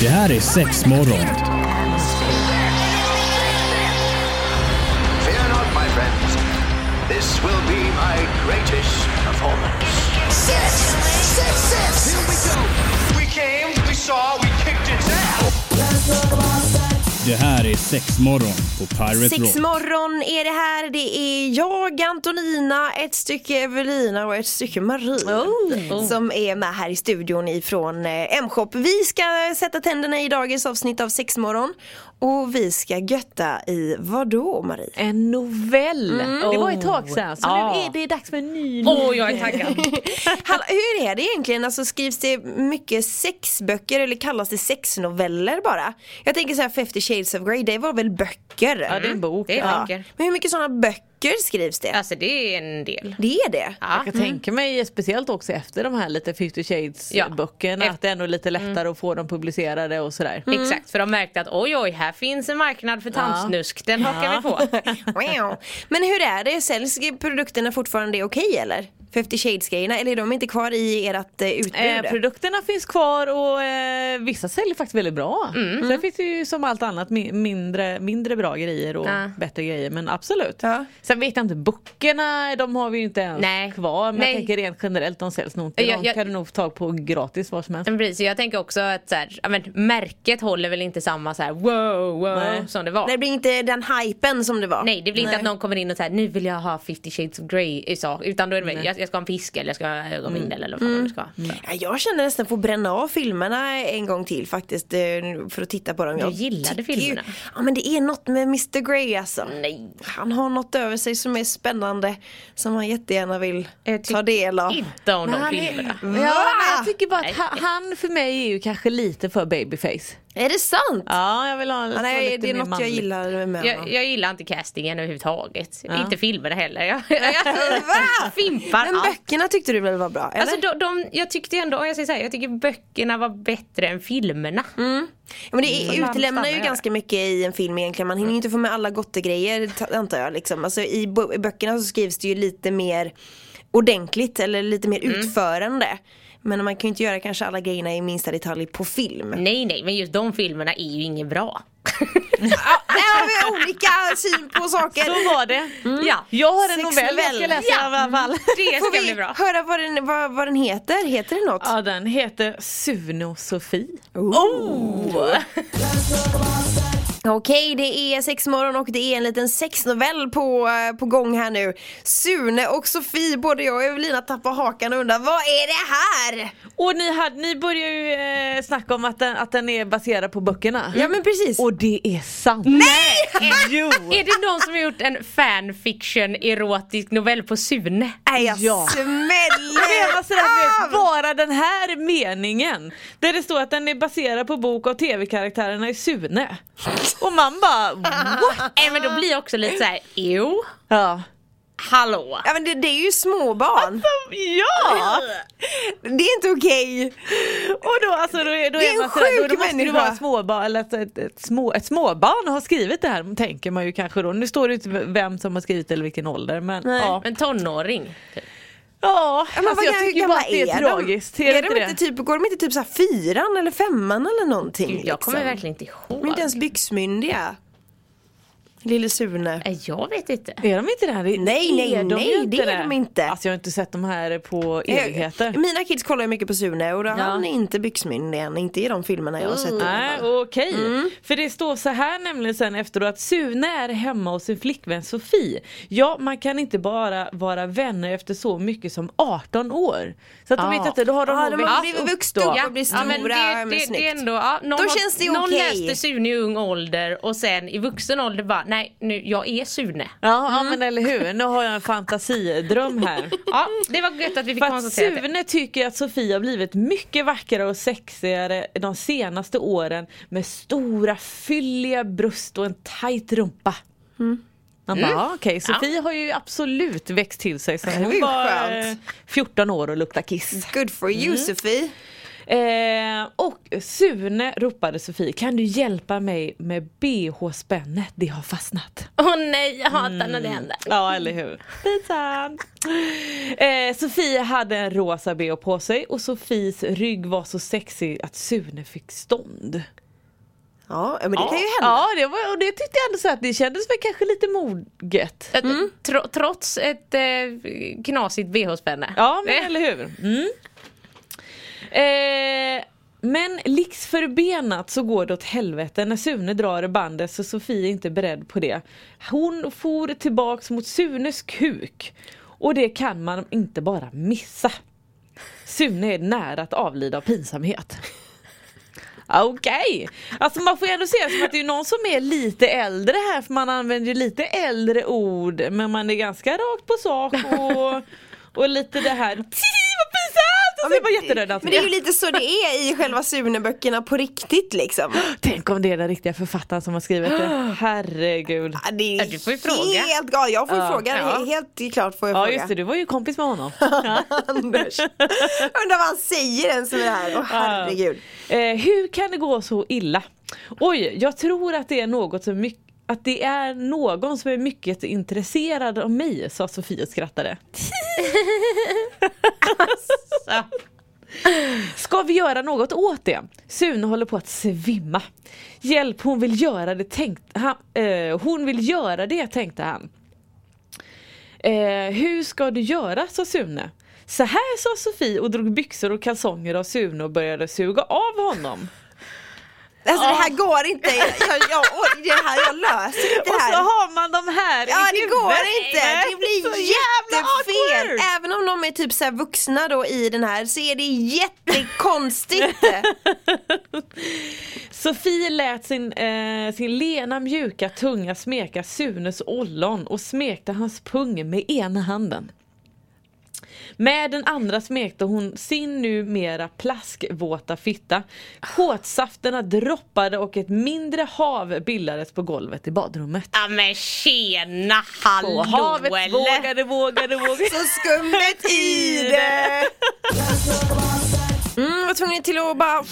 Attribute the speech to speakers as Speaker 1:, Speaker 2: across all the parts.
Speaker 1: Det här är sex morgon.
Speaker 2: Fear not, my friends. This will be my greatest performance.
Speaker 3: Six, six, six. Here we go.
Speaker 2: We came, we saw, we kicked its ass.
Speaker 1: Det här är sex morgon på Pirate
Speaker 4: Sex
Speaker 1: Rock.
Speaker 4: morgon är det här. Det är jag, Antonina, ett stycke Evelina och ett stycke Marie
Speaker 5: Oh.
Speaker 4: som är med här i studion ifrån eh, M-shop. Vi ska sätta tänderna i dagens avsnitt av Sex morgon och vi ska götta i vad då Marie?
Speaker 5: En novell. Det var ett tag sedan. Så nu är det dags för en ny novell.
Speaker 6: Åh, jag är taggad.
Speaker 4: Hallå, hur är det egentligen? Alltså, skrivs det mycket sexböcker eller kallas det sexnoveller bara? Jag tänker så här 50 shades of Grey, det var väl böcker? Mm.
Speaker 5: Ja, det är en bok.
Speaker 6: Det är
Speaker 4: Ja.
Speaker 6: vacker.
Speaker 4: Men hur mycket sådana böcker skrivs det?
Speaker 6: Alltså det är en del.
Speaker 4: Det är det?
Speaker 6: Ja.
Speaker 5: Jag tänker mig speciellt också efter de här lite 50 shades
Speaker 6: Ja.
Speaker 5: böckerna
Speaker 6: Eft-
Speaker 5: att det är ändå lite lättare att få dem publicerade och sådär.
Speaker 6: Exakt, för de märkte att oj oj, här finns en marknad för tantsnusk. Den hakar vi på.
Speaker 4: Wow. Men hur är det, säljs produkterna fortfarande okej eller? 50 shades grejerna, eller är de inte kvar i ert eh, utbud?
Speaker 5: Eh, produkterna finns kvar och eh, vissa säljer faktiskt väldigt bra. Sen finns det ju som allt annat mi- mindre, mindre bra grejer och
Speaker 6: Ja.
Speaker 5: bättre grejer men absolut.
Speaker 4: Ja.
Speaker 5: Sen vet jag inte, böckerna de har vi ju inte ens
Speaker 6: Nej.
Speaker 5: kvar men
Speaker 6: Nej.
Speaker 5: jag tänker rent generellt de säljs nog inte.
Speaker 6: Jag-
Speaker 5: De
Speaker 6: jag-
Speaker 5: kan du nog få tag på gratis var som helst.
Speaker 6: Men Precis, jag tänker också att så här, ja, men, märket håller väl inte samma så här wow wow
Speaker 5: Nej.
Speaker 6: som det var.
Speaker 4: Det
Speaker 6: Nej,
Speaker 4: blir inte den hypen som det var?
Speaker 6: det blir inte att någon kommer in och säger nu vill jag ha 50 shades of grey i sak. Utan då är det väl, jag, jag ska ha en fisk eller jag ska ha ögonbindel eller vad fan du ska ha. Så.
Speaker 4: Ja, Jag känner nästan för att bränna av filmerna en gång till faktiskt eh, för att titta på dem. Jag
Speaker 6: gillade
Speaker 4: tycker
Speaker 6: filmerna.
Speaker 4: Ju, ja men det är något med Mr Grey alltså. Nej. Han har något över sig som är spännande som man jättegärna vill
Speaker 6: Jag tycker
Speaker 4: ta del av.
Speaker 6: Inte om de
Speaker 5: han är-
Speaker 6: filmerna.
Speaker 5: Eh,
Speaker 4: Va?
Speaker 5: Ja, men jag tycker bara att ha- han för mig är ju kanske lite för babyface.
Speaker 4: Är det sant?
Speaker 5: Ja, jag vill ha
Speaker 4: Ja, nej,
Speaker 5: lite
Speaker 4: det är
Speaker 5: mer
Speaker 4: något jag
Speaker 5: manligt.
Speaker 4: gillar med honom.
Speaker 6: Jag, jag gillar inte castingen överhuvudtaget.
Speaker 5: Ja.
Speaker 6: Inte filmerna heller. Jag, jag
Speaker 4: Alltså, Va?
Speaker 6: fimpar
Speaker 4: Men
Speaker 6: allt.
Speaker 4: böckerna tyckte du väl var bra? Eller?
Speaker 6: Alltså de, de, jag tyckte ändå, om jag säger så här, jag tycker böckerna var bättre än filmerna.
Speaker 5: Mm.
Speaker 4: Ja, men det
Speaker 6: Mm.
Speaker 4: utelämnar ju
Speaker 6: Stannar
Speaker 4: ganska mycket i en film egentligen. Man hinner ju inte få med alla gottegrejer ta- antar jag. Liksom. Alltså, I bo- i böckerna så skrivs det ju lite mer ordentligt eller lite mer
Speaker 5: Mm.
Speaker 4: utförande. Men man kan ju inte göra kanske alla grejerna i minsta detalj på film.
Speaker 5: Mm.
Speaker 6: Nej nej, men just de filmerna är ju inget bra.
Speaker 4: Ja, där Ah, har vi olika syn på saker.
Speaker 5: Så var det.
Speaker 6: Ja,
Speaker 5: Jag har en
Speaker 4: Sex
Speaker 5: novell jag ska
Speaker 4: novell.
Speaker 5: läsa i alla fall.
Speaker 6: det
Speaker 4: Mm. Får
Speaker 6: ska
Speaker 4: vi
Speaker 6: bli bra.
Speaker 4: höra vad den, vad, vad den heter? Heter det något?
Speaker 5: Ja, den heter Sune och Sofie. Oh.
Speaker 4: Okej, det är sexmorgon och det är en liten sexnovell på, eh, på gång här nu. Sune och Sofie, både jag och Evelina tappar hakan och undrar vad är det här?
Speaker 5: Och ni, hade, ni började ju eh, snacka om att den, att den är baserad på böckerna.
Speaker 4: Ja men precis.
Speaker 5: Och det är sant.
Speaker 4: Nej!
Speaker 5: Jo!
Speaker 6: Är det någon som har gjort en fanfiction erotisk novell på Sune?
Speaker 4: Nej jag
Speaker 5: Ja. Det
Speaker 4: smäller
Speaker 5: var sådär, du vet,
Speaker 4: av!
Speaker 5: bara den här meningen där det står att den är baserad på bok av tv-karaktärerna i Sune. Och man bara what?
Speaker 6: Nej men då blir jag också lite såhär, jo,
Speaker 5: Ja.
Speaker 6: hallå.
Speaker 4: Ja men det, det är ju småbarn.
Speaker 5: Ja!
Speaker 4: Det är inte okej.
Speaker 5: Och då, alltså, då, är- då
Speaker 4: Det är
Speaker 5: är
Speaker 4: en
Speaker 5: man sådär, då,
Speaker 4: sjuk
Speaker 5: då måste det
Speaker 4: människa.
Speaker 5: vara ett småbarn, eller ett, ett, ett, små, ett småbarn har skrivit det här tänker man ju kanske då. Nu står det ju inte vem som har skrivit eller vilken ålder men ja. Liksom.
Speaker 6: En tonåring.
Speaker 5: ja
Speaker 4: Ja, Men
Speaker 5: alltså, jag
Speaker 4: vad-
Speaker 5: tycker
Speaker 4: hur
Speaker 5: ju bara
Speaker 4: gamla
Speaker 5: att det är,
Speaker 4: de?
Speaker 5: tragiskt.
Speaker 4: Är
Speaker 5: inte
Speaker 4: de inte typ, går de inte typ så här fyran eller femman eller någonting?
Speaker 6: Gud, jag kommer
Speaker 4: liksom?
Speaker 6: verkligen inte ihåg.
Speaker 4: De är inte ens byxmyndiga. Lille Sune.
Speaker 6: Nej, Jag vet inte.
Speaker 5: Är de inte det? här?
Speaker 4: Nej,
Speaker 5: Är
Speaker 4: nej,
Speaker 5: de
Speaker 4: nej,
Speaker 5: ju
Speaker 4: det är de inte.
Speaker 5: Alltså jag har inte sett de här på
Speaker 4: Jag-
Speaker 5: evigheter.
Speaker 4: Eh, Mina kids kollar ju mycket på Sune och då, han är inte byxmyndig än, inte i de filmerna jag har sett.
Speaker 5: Mm. Nej, okej. För det står så här nämligen sen efteråt att Sune är hemma hos sin flickvän Sofie. Ja, man kan inte bara vara vänner efter så mycket som 18 år. Så att de
Speaker 6: Ah.
Speaker 5: vet inte, då har de
Speaker 4: Ah,
Speaker 5: nog
Speaker 4: de har
Speaker 5: växt
Speaker 4: blivit
Speaker 5: upp
Speaker 4: vuxna
Speaker 5: då.
Speaker 4: upp. Ja, blir
Speaker 6: men
Speaker 4: stora, men
Speaker 6: det, det, det är
Speaker 4: snyggt.
Speaker 6: ändå, ja, någon
Speaker 4: Då känns det
Speaker 6: Någon
Speaker 4: okej.
Speaker 6: läste Sune i ung ålder och sen i vuxen ålder bara, nej nu, jag är Sune.
Speaker 5: Ja, ja men eller hur, nu har jag en fantasidröm här.
Speaker 6: Ja, det var gött att vi fick
Speaker 5: För att
Speaker 6: konstatera det.
Speaker 5: Sune tycker att Sofie har blivit mycket vackrare och sexigare de senaste åren med stora fylliga bröst och en tajt rumpa. Man bara, ja, okej, Sofie har ju absolut växt till sig sen
Speaker 4: Det är
Speaker 5: hon
Speaker 4: ju
Speaker 5: var
Speaker 4: skönt.
Speaker 5: eh, 14 år och luktade kiss.
Speaker 4: Good for you Sofie.
Speaker 5: Eh, och Sune ropade Sofie, kan du hjälpa mig med bh-spännet? Det har fastnat.
Speaker 6: Åh nej, jag hatar när
Speaker 4: Mm.
Speaker 6: det händer.
Speaker 5: Ja eller hur. Pinsamt. Eh, Sofie hade en rosa bh på sig och Sofies rygg var så sexig att Sune fick stånd.
Speaker 4: Ja, men det kan ju hända.
Speaker 5: Ja det var, och det tyckte jag ändå så att det kändes väl kanske lite moget.
Speaker 6: Att-
Speaker 4: Mm.
Speaker 6: Tro, trots ett eh, knasigt bh-spänne.
Speaker 5: Ja, men eller hur. Mm. Eh, men liks förbenat så går det åt helvete när Sune drar i bandet så Sofie är inte beredd på det. Hon for tillbaks mot Sunes kuk. Och det kan man inte bara missa. Sune är nära att avlida av pinsamhet. Ah, Okej, alltså man får ju ändå säga som att det är någon som är lite äldre här för man använder ju lite äldre ord men man är ganska rakt på sak och, och lite det här "Tji, vad pinsamt! Och så är man alltså. jätterädd
Speaker 4: men
Speaker 5: alltid.
Speaker 4: det är ju lite så det är i själva Sune-böckerna på riktigt liksom.
Speaker 5: Tänk om det är den riktiga författaren som har skrivit det, herregud.
Speaker 4: Ja, Det är
Speaker 6: Ja, du får ju fråga.
Speaker 4: helt galet, jag får ju
Speaker 5: Ja,
Speaker 4: fråga.
Speaker 6: ja.
Speaker 4: Helt klart får jag
Speaker 5: Ja
Speaker 4: fråga.
Speaker 5: just det, du var ju kompis med honom.
Speaker 4: Anders. Undrar vad han säger ens med det här. Åh herregud.
Speaker 5: Eh, hur kan det gå så illa? Oj, jag tror att det är något som mycket att det är någon som är mycket intresserad av mig, sa Sofie och skrattade. Ska vi göra något åt det? Sune håller på att svimma. Hjälp, hon vill göra det tänkte han. Eh, hon vill göra det tänkte han. Eh, hur ska du göra? sa Sune. Så här sa Sofie och drog byxor och kalsonger av Sune och började suga av honom.
Speaker 4: Alltså det här går inte. Jag, jag, jag, oj, det här, jag löser inte
Speaker 5: Och
Speaker 4: det här.
Speaker 5: så har man de här
Speaker 4: Ja
Speaker 5: i
Speaker 4: det
Speaker 5: huvudet.
Speaker 4: går inte, det blir
Speaker 5: Så jävla
Speaker 4: jättefel!
Speaker 5: awkward.
Speaker 4: Även om de är typ så här vuxna då i den här så är det jättekonstigt!
Speaker 5: Sofie lät sin, eh, sin lena mjuka tunga smeka Sunes ollon och smekte hans pung med ena handen. Med den andra smekte hon sin numera plaskvåta fitta. Kåtsafterna droppade och ett mindre hav bildades på golvet i badrummet.
Speaker 6: Ja men tjena, hallå
Speaker 5: Och havet
Speaker 6: eller?
Speaker 5: vågade, vågade, vågade.
Speaker 4: Så skummet i det! Mm, jag var tvungen till att bara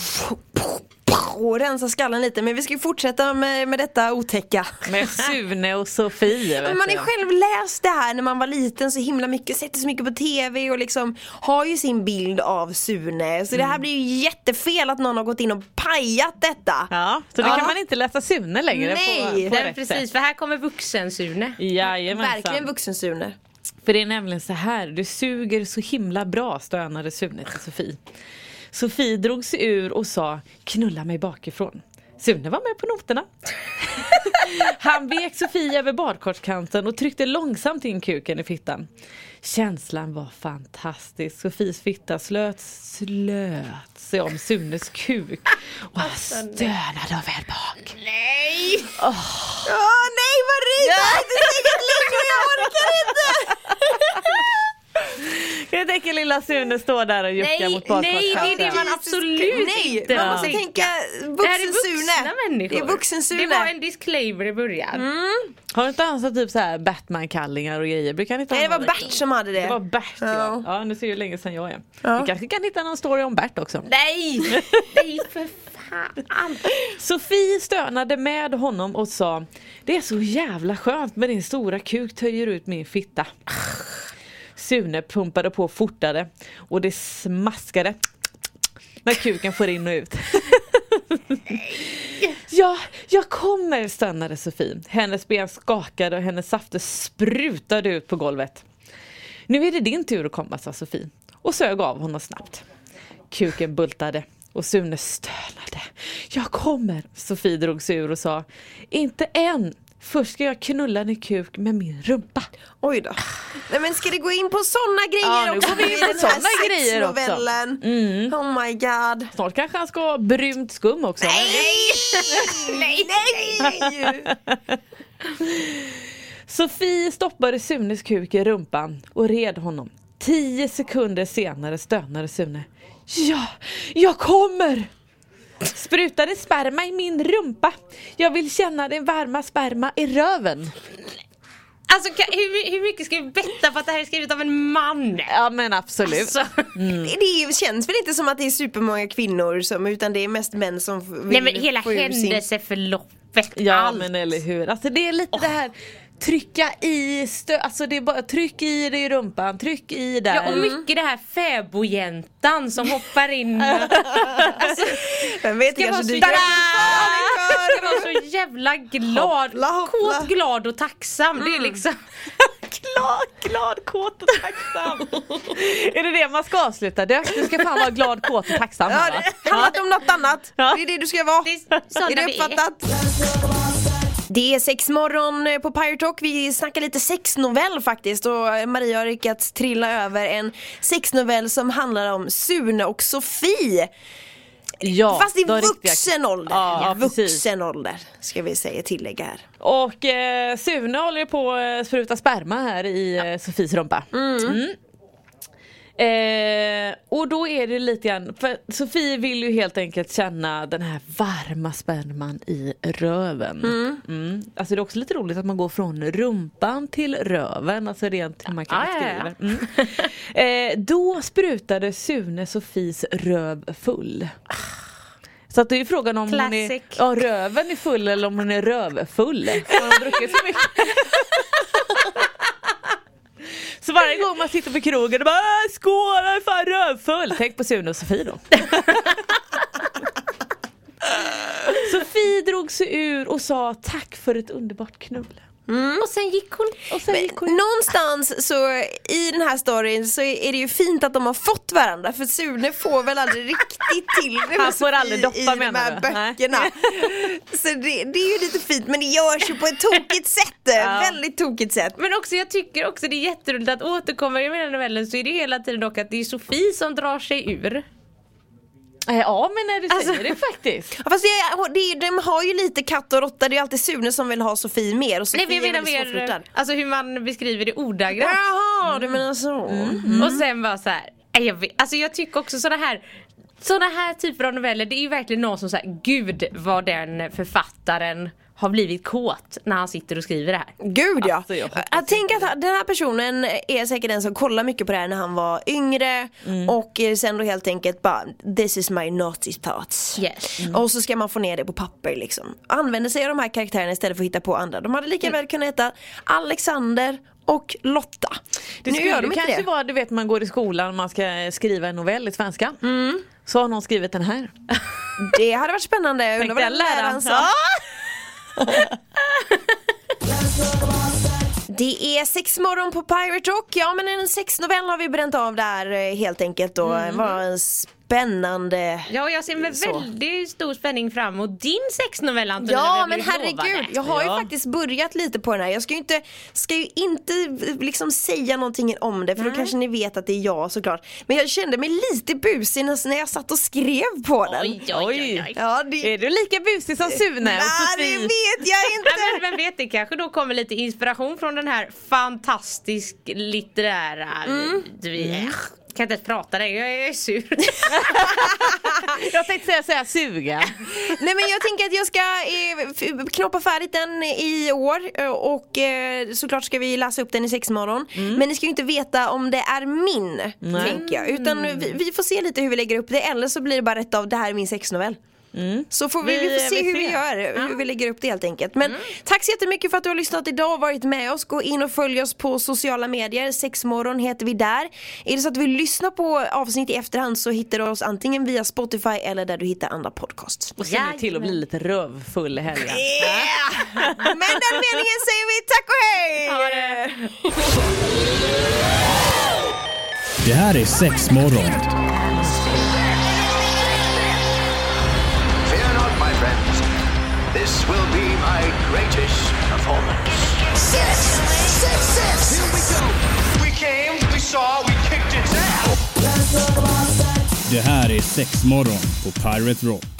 Speaker 4: och rensa skallen lite men vi ska ju fortsätta med, med detta otäcka.
Speaker 5: Med Sune och Sofie. vet
Speaker 4: Men man är
Speaker 5: du.
Speaker 4: själv läst det här när man var liten så himla mycket, sett det så mycket på TV och liksom har ju sin bild av Sune. Så det
Speaker 5: Mm.
Speaker 4: här blir ju jättefel att någon har gått in och pajat detta.
Speaker 5: Ja, så då
Speaker 4: Ja.
Speaker 5: kan man inte läsa Sune längre
Speaker 4: Nej,
Speaker 5: på, på
Speaker 6: Nej,
Speaker 5: rätt
Speaker 6: precis,
Speaker 5: sätt.
Speaker 6: för här kommer vuxen-Sune.
Speaker 4: Verkligen
Speaker 5: Jajamensan.
Speaker 4: vuxen-Sune.
Speaker 5: För det är nämligen så här, du suger så himla bra stönade Sune till Sofie. Sofie drog sig ur och sa knulla mig bakifrån. Sune var med på noterna. Han vek Sofie över badkarskanten och tryckte långsamt in kuken i fittan. Känslan var fantastisk. Sofies fitta slöt, slöt sig om Sunes kuk och han
Speaker 4: Alltså,
Speaker 5: stönade av välbehag.
Speaker 4: Åh nej Marie! Det här är inte säkert längre, jag orkar inte!
Speaker 5: Kan du tänka lilla Sune står där och juckar
Speaker 6: Nej,
Speaker 5: mot Alltså.
Speaker 6: nej, det är det
Speaker 5: badkarskanten?
Speaker 6: man absolut
Speaker 4: Nej,
Speaker 6: inte
Speaker 4: man måste
Speaker 6: tänker.
Speaker 4: tänka
Speaker 6: Det här är vuxna
Speaker 4: vuxen-Sune.
Speaker 6: människor.
Speaker 4: Det är vuxen-Sune. Mm.
Speaker 6: Det var en disclaimer i början.
Speaker 5: Har du inte han som typ så här Batman-kallingar och grejer? Brukar han inte
Speaker 4: Nej det
Speaker 5: ha
Speaker 4: var
Speaker 5: någon-
Speaker 4: Bert som hade det.
Speaker 5: Det var Bert ja.
Speaker 4: Ja.
Speaker 5: ja. nu ser ju länge sedan jag är.
Speaker 4: Ja.
Speaker 5: Vi kanske kan hitta någon story om Bert också.
Speaker 6: Nej! Nej för fan!
Speaker 5: Sofie stönade med honom och sa Det är så jävla skönt med din stora kuk töjer ut min fitta. Sune pumpade på fortare och det smaskade när kuken får in och ut. Ja, jag kommer stönade Sofie. Hennes ben skakade och hennes safter sprutade ut på golvet. Nu är det din tur att komma sa Sofie och sög av honom snabbt. Kuken bultade och Sune stönade. Jag kommer! Sofie drog sig ur och sa Inte än! Först ska jag knulla din kuk med min rumpa.
Speaker 4: Oj då. Nej men ska det gå in på såna grejer
Speaker 5: Ja, nu
Speaker 4: också?
Speaker 5: går vi in
Speaker 4: i
Speaker 5: på
Speaker 4: den här
Speaker 5: såna grejer också.
Speaker 4: sexnovellen?
Speaker 6: Mm.
Speaker 4: Oh my god.
Speaker 5: Snart kanske han ska ha brunt skum också.
Speaker 4: Nej! Nej!
Speaker 5: Sofie stoppade Sunes kuk i rumpan och red honom. Tio sekunder senare stönade Sune. Ja, jag kommer! Sprutade sperma i min rumpa. Jag vill känna din varma sperma i röven.
Speaker 6: Alltså kan, hur, hur mycket ska vi betta på att det här är skrivet av en man?
Speaker 5: Ja men absolut.
Speaker 6: Alltså.
Speaker 4: Det, det känns väl inte som att det är supermånga kvinnor som, utan det är mest män som f- vill
Speaker 6: Nej men hela
Speaker 4: få ur sin-
Speaker 6: händelseförloppet,
Speaker 5: Ja
Speaker 6: allt.
Speaker 5: men eller hur. Alltså det är lite det här trycka i stö... Alltså det är bara tryck i det i rumpan, tryck i där.
Speaker 6: Ja och mycket det här fäbodjäntan som hoppar in. alltså,
Speaker 4: Vem vet, det
Speaker 6: ska vara
Speaker 4: kanske
Speaker 6: så
Speaker 4: dyker
Speaker 6: jävla,
Speaker 4: upp
Speaker 6: ska vara så jävla glad,
Speaker 4: Hoppla, hoppla.
Speaker 6: kåt, glad och tacksam. Det är liksom
Speaker 5: Mm. glad, glad, kåt och tacksam. är det det man ska avsluta det? Du ska fan vara glad, kåt och tacksam.
Speaker 4: Ja,
Speaker 5: va?
Speaker 4: det handlat om något annat.
Speaker 5: Ja.
Speaker 4: Det är det du ska vara.
Speaker 6: Det är sådana
Speaker 4: är det
Speaker 6: vi är.
Speaker 4: uppfattat? Det är sex morgon eh, på Pirate Talk. Vi snackar lite sexnovell faktiskt och eh, Maria har lyckats trilla över en sexnovell som handlar om Sune och Sofie.
Speaker 5: Ja,
Speaker 4: Fast i
Speaker 5: de riktiga-
Speaker 4: vuxen ålder.
Speaker 5: Ja, ja, precis.
Speaker 4: vuxen ålder ska vi säga tillägga här.
Speaker 5: Och eh, Sune håller på att eh, spruta sperma här i eh, Sofies rumpa. Mm. Eh, och då är det lite grann, för Sofie vill ju helt enkelt känna den här varma sperman i röven. Mm. Alltså det är också lite roligt att man går från rumpan till röven, alltså rent hur man kan
Speaker 6: Ja, ja,
Speaker 5: beskriva
Speaker 6: ja.
Speaker 5: det. Mm. Eh, då sprutade Sune Sofies röv full. Så att det är ju frågan om hon är,
Speaker 6: Classic.
Speaker 5: ja, röven är full eller om hon är rövfull. Har hon druckit så mycket? Så varje gång man sitter på krogen och bara "Äh, skål, jag är fan rövfull. Tänk på Sune och Sofie då. Sofie drog sig ur och sa tack för ett underbart knull.
Speaker 6: Och sen gick hon
Speaker 5: Och sen gick hon
Speaker 4: Någonstans så i den här storyn så är det ju fint att de har fått varandra för Sune får väl aldrig riktigt till det med
Speaker 5: Han får aldrig
Speaker 4: Sofie
Speaker 5: doppa,
Speaker 4: i de
Speaker 5: menar
Speaker 4: här
Speaker 5: du? Nej.
Speaker 4: böckerna. Så det, det är ju lite fint men det görs ju på ett tokigt sätt. Väldigt tokigt sätt.
Speaker 6: Men också jag tycker också det är jätteroligt att återkomma i den här novellen så är det hela tiden dock att det är Sofie som drar sig ur.
Speaker 5: Eh, Ja men när du säger
Speaker 6: Alltså-
Speaker 5: det faktiskt.
Speaker 4: Ja, fast det, är- det, är- de har ju lite katt och råtta, det är ju alltid Sune som vill ha Sofie mer och Sofie
Speaker 6: Nej men jag
Speaker 4: är
Speaker 6: menar
Speaker 4: väldigt svårflörtad.
Speaker 6: mer alltså hur man beskriver det ordagrant.
Speaker 4: Jaha du menar så.
Speaker 5: Mm.
Speaker 6: Och sen bara så här, nej, jag, vet- alltså jag tycker också sådana här såna här typer av noveller det är ju verkligen någon som säger gud vad den författaren har blivit kåt när han sitter och skriver det här.
Speaker 4: Gud ja!
Speaker 5: Alltså, jag hoppas
Speaker 4: jag tänker att den här personen är säkert den som kollar mycket på det här när han var yngre
Speaker 5: Mm.
Speaker 4: och eh, sen då helt enkelt bara this is my naughty thoughts.
Speaker 6: Yes.
Speaker 5: Mm.
Speaker 4: Och så ska man få ner det på papper liksom. Använder sig av de här karaktärerna istället för att hitta på andra. De hade
Speaker 5: Mm.
Speaker 4: lika väl kunnat heta Alexander och Lotta.
Speaker 5: Det
Speaker 4: nu
Speaker 5: skulle
Speaker 4: gör de inte
Speaker 5: kanske
Speaker 4: det.
Speaker 5: vara, du vet man går i skolan och man ska skriva en novell i svenska. Så har någon skrivit den här.
Speaker 4: Det hade varit spännande. Jag undrar vad den
Speaker 5: Tänkte jag lära
Speaker 4: läraren
Speaker 5: han.
Speaker 4: sa. Det är sex morgon på Pirate Rock. Ja men en sexnovell har vi bränt av där eh, helt enkelt då. Vad spännande.
Speaker 6: Ja och jag ser med
Speaker 4: Så.
Speaker 6: väldigt stor spänning fram emot din sexnovell Antonina. vi
Speaker 4: Ja
Speaker 6: har
Speaker 4: men
Speaker 6: blivit
Speaker 4: herregud,
Speaker 6: lovade.
Speaker 4: jag har ju
Speaker 5: Ja.
Speaker 4: faktiskt börjat lite på den här. Jag ska ju inte, ska ju inte liksom säga någonting om det för då kanske ni vet att det är jag såklart. Men jag kände mig lite busig när när jag satt och skrev på den.
Speaker 6: Oj, oj, oj, oj.
Speaker 4: Ja, det,
Speaker 5: Är du lika busig som Sune och
Speaker 4: nej, det
Speaker 5: Eh, Sofie?
Speaker 4: vet jag
Speaker 6: Ja,
Speaker 4: inte.
Speaker 6: men vem vet, det kanske då kommer lite inspiration från den här fantastisk litterära... Vi, jag kan inte ens prata längre, jag är sur.
Speaker 5: Jag tänkte säga, säga suga.
Speaker 4: Nej men jag tänker att jag ska eh, f- knoppa färdigt den i år eh, och eh, såklart ska vi läsa upp den i sexmorgon.
Speaker 5: Mm.
Speaker 4: Men ni ska ju inte veta om det är min, tänker jag. Utan vi, vi får se lite hur vi lägger upp det eller så blir det bara rätt av det här är min sexnovell. Så får vi, vi,
Speaker 5: Mm. Vi-
Speaker 4: får se
Speaker 5: vi
Speaker 4: hur
Speaker 5: ser. Mm.
Speaker 4: vi gör, hur vi lägger upp det helt enkelt. Men tack så jättemycket för att du har lyssnat idag och varit med oss. Gå in och följ oss på sociala medier, sexmorgon heter vi där. Är det så att du vill lyssna på avsnitt i efterhand så hittar du oss antingen via Spotify eller där du hittar andra podcasts.
Speaker 5: Och se nu till att bli lite rövfull i helgen.
Speaker 4: Yeah! Men den meningen säger vi tack och hej!
Speaker 1: Det här är sex morgon.
Speaker 2: Fear not, my friends. This will be my greatest performance.
Speaker 3: Six, six, six. Here we go.
Speaker 2: We came, we saw, we kicked its ass.
Speaker 1: Det här är sex morgon på Pirate Rock.